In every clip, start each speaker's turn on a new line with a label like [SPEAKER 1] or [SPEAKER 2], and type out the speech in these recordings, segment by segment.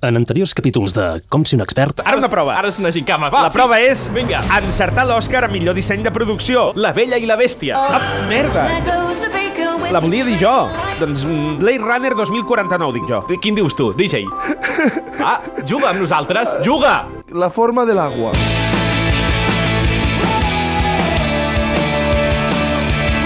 [SPEAKER 1] En anteriors capítols de Com si un expert...
[SPEAKER 2] Ara una prova.
[SPEAKER 3] Ara és una gincama.
[SPEAKER 2] la prova és
[SPEAKER 3] Vinga.
[SPEAKER 2] encertar l'Oscar a millor disseny de producció.
[SPEAKER 3] La vella i la bèstia.
[SPEAKER 2] Ah, merda! La volia dir jo. Doncs mm, Blade Runner 2049, dic jo.
[SPEAKER 3] De Quin dius tu, DJ? Ah, juga amb nosaltres, juga!
[SPEAKER 4] La forma del agua.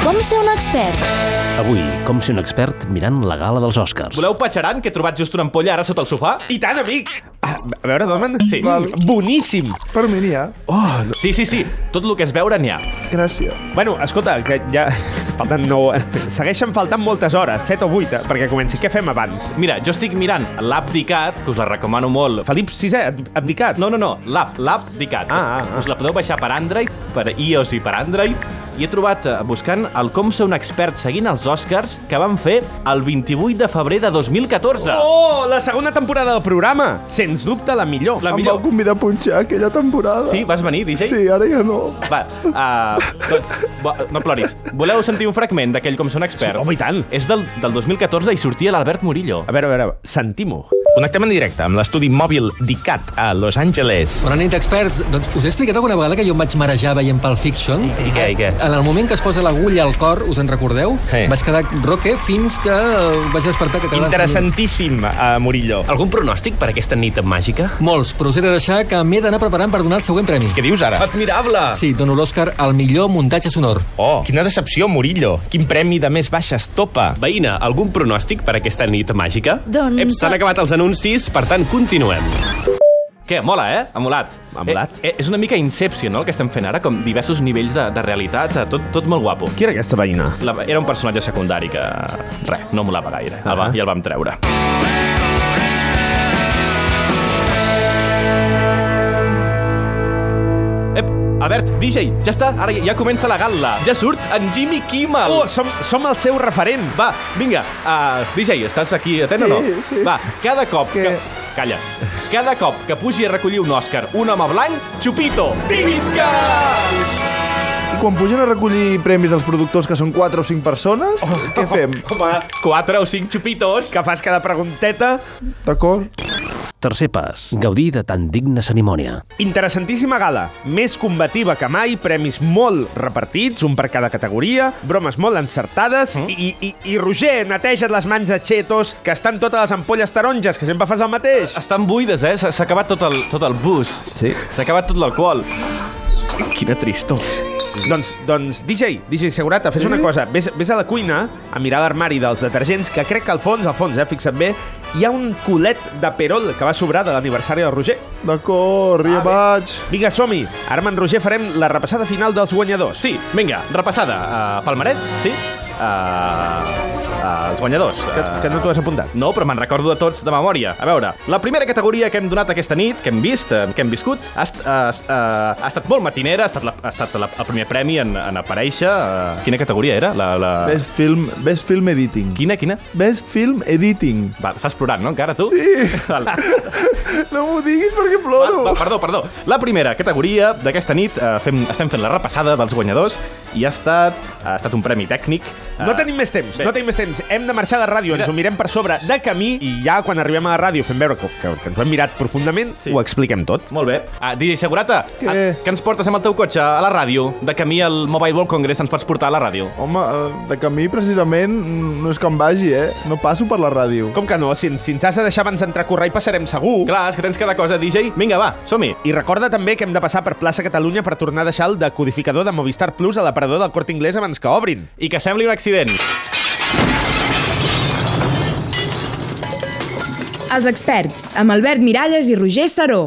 [SPEAKER 5] Com ser un expert?
[SPEAKER 1] Avui, Com si un expert mirant la gala dels Oscars.
[SPEAKER 3] Voleu patxaran, que he trobat just una ampolla ara sota el sofà?
[SPEAKER 2] I tant, amic! Ah, a veure, Domen?
[SPEAKER 3] Sí.
[SPEAKER 4] Val.
[SPEAKER 2] Boníssim!
[SPEAKER 4] Per mi n'hi ha.
[SPEAKER 2] Oh, no.
[SPEAKER 3] Sí, sí, sí, tot el que es veure n'hi ha.
[SPEAKER 4] Gràcies.
[SPEAKER 2] Bueno, escolta, que ja... Falten nou... Segueixen faltant moltes hores, 7 o 8, perquè comenci. Què fem abans?
[SPEAKER 3] Mira, jo estic mirant l'abdicat, que us la recomano molt. Fa-
[SPEAKER 2] Felip VI, ab- abdicat?
[SPEAKER 3] No, no, no, l'app, l'abdicat.
[SPEAKER 2] Ah, ah, ah.
[SPEAKER 3] Us la podeu baixar per Android, per iOS i per Android. I he trobat, eh, buscant el Com ser un expert seguint els Oscars, que van fer el 28 de febrer de 2014.
[SPEAKER 2] Oh, la segona temporada del programa! Sens dubte, la millor.
[SPEAKER 3] La
[SPEAKER 4] Em
[SPEAKER 3] millor.
[SPEAKER 4] vau convidar a punxar aquella temporada.
[SPEAKER 3] Sí, vas venir, DJ?
[SPEAKER 4] Sí, ara ja no.
[SPEAKER 3] Va, uh, doncs, bo, no ploris. Voleu sentir un fragment d'aquell com ser un
[SPEAKER 2] Sí,
[SPEAKER 3] expert?
[SPEAKER 2] home, i tant.
[SPEAKER 3] És del, del 2014 i sortia l'Albert Murillo.
[SPEAKER 2] A veure, a veure, sentim-ho.
[SPEAKER 6] Connectem en directe amb l'estudi mòbil d'ICAT a Los Angeles.
[SPEAKER 7] Bona nit, experts. Doncs us he explicat alguna vegada que jo em vaig marejar veient Pulp Fiction?
[SPEAKER 6] I què, i què?
[SPEAKER 7] En el moment que es posa l'agulla al cor, us en recordeu?
[SPEAKER 6] Sí.
[SPEAKER 7] Vaig quedar roque fins que eh, vaig despertar que quedava...
[SPEAKER 6] Interessantíssim, uh, Murillo.
[SPEAKER 8] Algun pronòstic per aquesta nit màgica?
[SPEAKER 7] Molts, però us he de deixar que m'he d'anar preparant per donar el següent premi.
[SPEAKER 6] Què dius ara?
[SPEAKER 8] Admirable!
[SPEAKER 7] Sí, dono l'Òscar al millor muntatge sonor.
[SPEAKER 6] Oh, quina decepció, Murillo. Quin premi de més baixa estopa.
[SPEAKER 8] Veïna, algun pronòstic per aquesta nit màgica?
[SPEAKER 5] Doncs-
[SPEAKER 8] Ep, s'han acabat els anuncis, per tant, continuem.
[SPEAKER 3] Què, mola, eh? Ha molat.
[SPEAKER 2] Ha molat.
[SPEAKER 3] Eh, eh, és una mica Inception, no?, el que estem fent ara, com diversos nivells de, de realitat, eh, tot, tot molt guapo.
[SPEAKER 2] Qui era aquesta veïna?
[SPEAKER 3] La, era un personatge secundari que, res, no molava gaire. El va,
[SPEAKER 2] Ah.
[SPEAKER 3] I el vam treure. Ep, Albert, DJ, ja està, ara ja, ja comença la gala. Ja surt en Jimmy Kimmel.
[SPEAKER 2] Oh, som, som el seu referent.
[SPEAKER 3] Va, vinga, uh, DJ, estàs aquí atent o no?
[SPEAKER 4] Sí, sí.
[SPEAKER 3] Va, cada cop que...
[SPEAKER 4] Què?
[SPEAKER 3] Calla. Cada cop que pugi a recollir un Òscar un home blanc, Chupito, visca!
[SPEAKER 4] I quan pugen a recollir premis als productors que són 4 o 5 persones, oh. què fem?
[SPEAKER 3] Home, quatre o cinc Chupitos.
[SPEAKER 2] Que fas cada pregunteta.
[SPEAKER 4] D'acord?
[SPEAKER 1] Tercer pas, gaudir de tan digna cerimònia.
[SPEAKER 2] Interessantíssima gala. Més combativa que mai, premis molt repartits, un per cada categoria, bromes molt encertades, mm? i, i, i Roger, neteja't les mans a xetos, que estan totes les ampolles taronges, que sempre fas el mateix.
[SPEAKER 3] Estan buides, eh? S'ha s'ha acabat tot el, tot el bus. Sí. S'ha acabat tot l'alcohol. Quina tristor.
[SPEAKER 2] Doncs, doncs, DJ, DJ Segurata, fes una cosa. Ves, ves a la cuina a mirar l'armari dels detergents, que crec que al fons, al fons, eh, fixa't bé, hi ha un culet de perol que va sobrar de l'aniversari del Roger.
[SPEAKER 4] D'acord,
[SPEAKER 2] Ah,
[SPEAKER 4] ja
[SPEAKER 2] bé.
[SPEAKER 4] vaig.
[SPEAKER 2] Vinga, som-hi. Ara amb en Roger farem la repassada final dels guanyadors.
[SPEAKER 3] Sí, vinga, repassada. Uh, palmarès, sí? Uh, uh, els guanyadors.
[SPEAKER 2] Que,
[SPEAKER 3] eh,
[SPEAKER 2] que no t'ho has apuntat.
[SPEAKER 3] No, però me'n recordo de tots de memòria. A veure, la primera categoria que hem donat aquesta nit, que hem vist, eh, que hem viscut, ha, est- ha, est- eh, ha estat molt matinera, ha estat, la, ha estat la, el primer premi en, en aparèixer. eh, Quina categoria era? La, la...
[SPEAKER 4] Best film, best film editing.
[SPEAKER 3] Quina, quina?
[SPEAKER 4] Best film editing.
[SPEAKER 3] Va, estàs plorant, no, encara, tu?
[SPEAKER 4] Sí.
[SPEAKER 3] Val.
[SPEAKER 4] No m'ho diguis perquè
[SPEAKER 3] Va, va,
[SPEAKER 4] ploro.
[SPEAKER 3] perdó, perdó. La primera categoria d'aquesta nit, eh, fem, estem fent la repassada dels guanyadors i ha estat, ha estat un premi tècnic. eh,
[SPEAKER 2] No tenim més temps,
[SPEAKER 3] bé.
[SPEAKER 2] no tenim més temps. Hem de marxar de ràdio, ens ho mirem per sobre de camí i ja quan arribem a la ràdio fem veure que, que, que ens ho hem mirat profundament,
[SPEAKER 3] Sí.
[SPEAKER 2] sí. ho expliquem tot.
[SPEAKER 3] Molt bé. Ah, DJ Segurata,
[SPEAKER 4] Què?
[SPEAKER 3] a, que ens portes amb el teu cotxe a la ràdio? De camí al Mobile World Congress ens pots portar a la ràdio?
[SPEAKER 4] Home, eh, de camí precisament mm, no és que em vagi, eh? No passo per la ràdio.
[SPEAKER 2] Com que no? Si, ens- si ens has de deixar abans d'entrar a correr hi passarem segur.
[SPEAKER 3] Clar, és que tens cada cosa, DJ. Vinga, va, som-hi.
[SPEAKER 2] I recorda també que hem de passar per plaça Catalunya per tornar a deixar el decodificador de Movistar Plus a l'aparador del Corte Inglés abans que obrin.
[SPEAKER 3] I que sembli un accident.
[SPEAKER 9] Els experts, amb Albert Miralles i Roger Saró.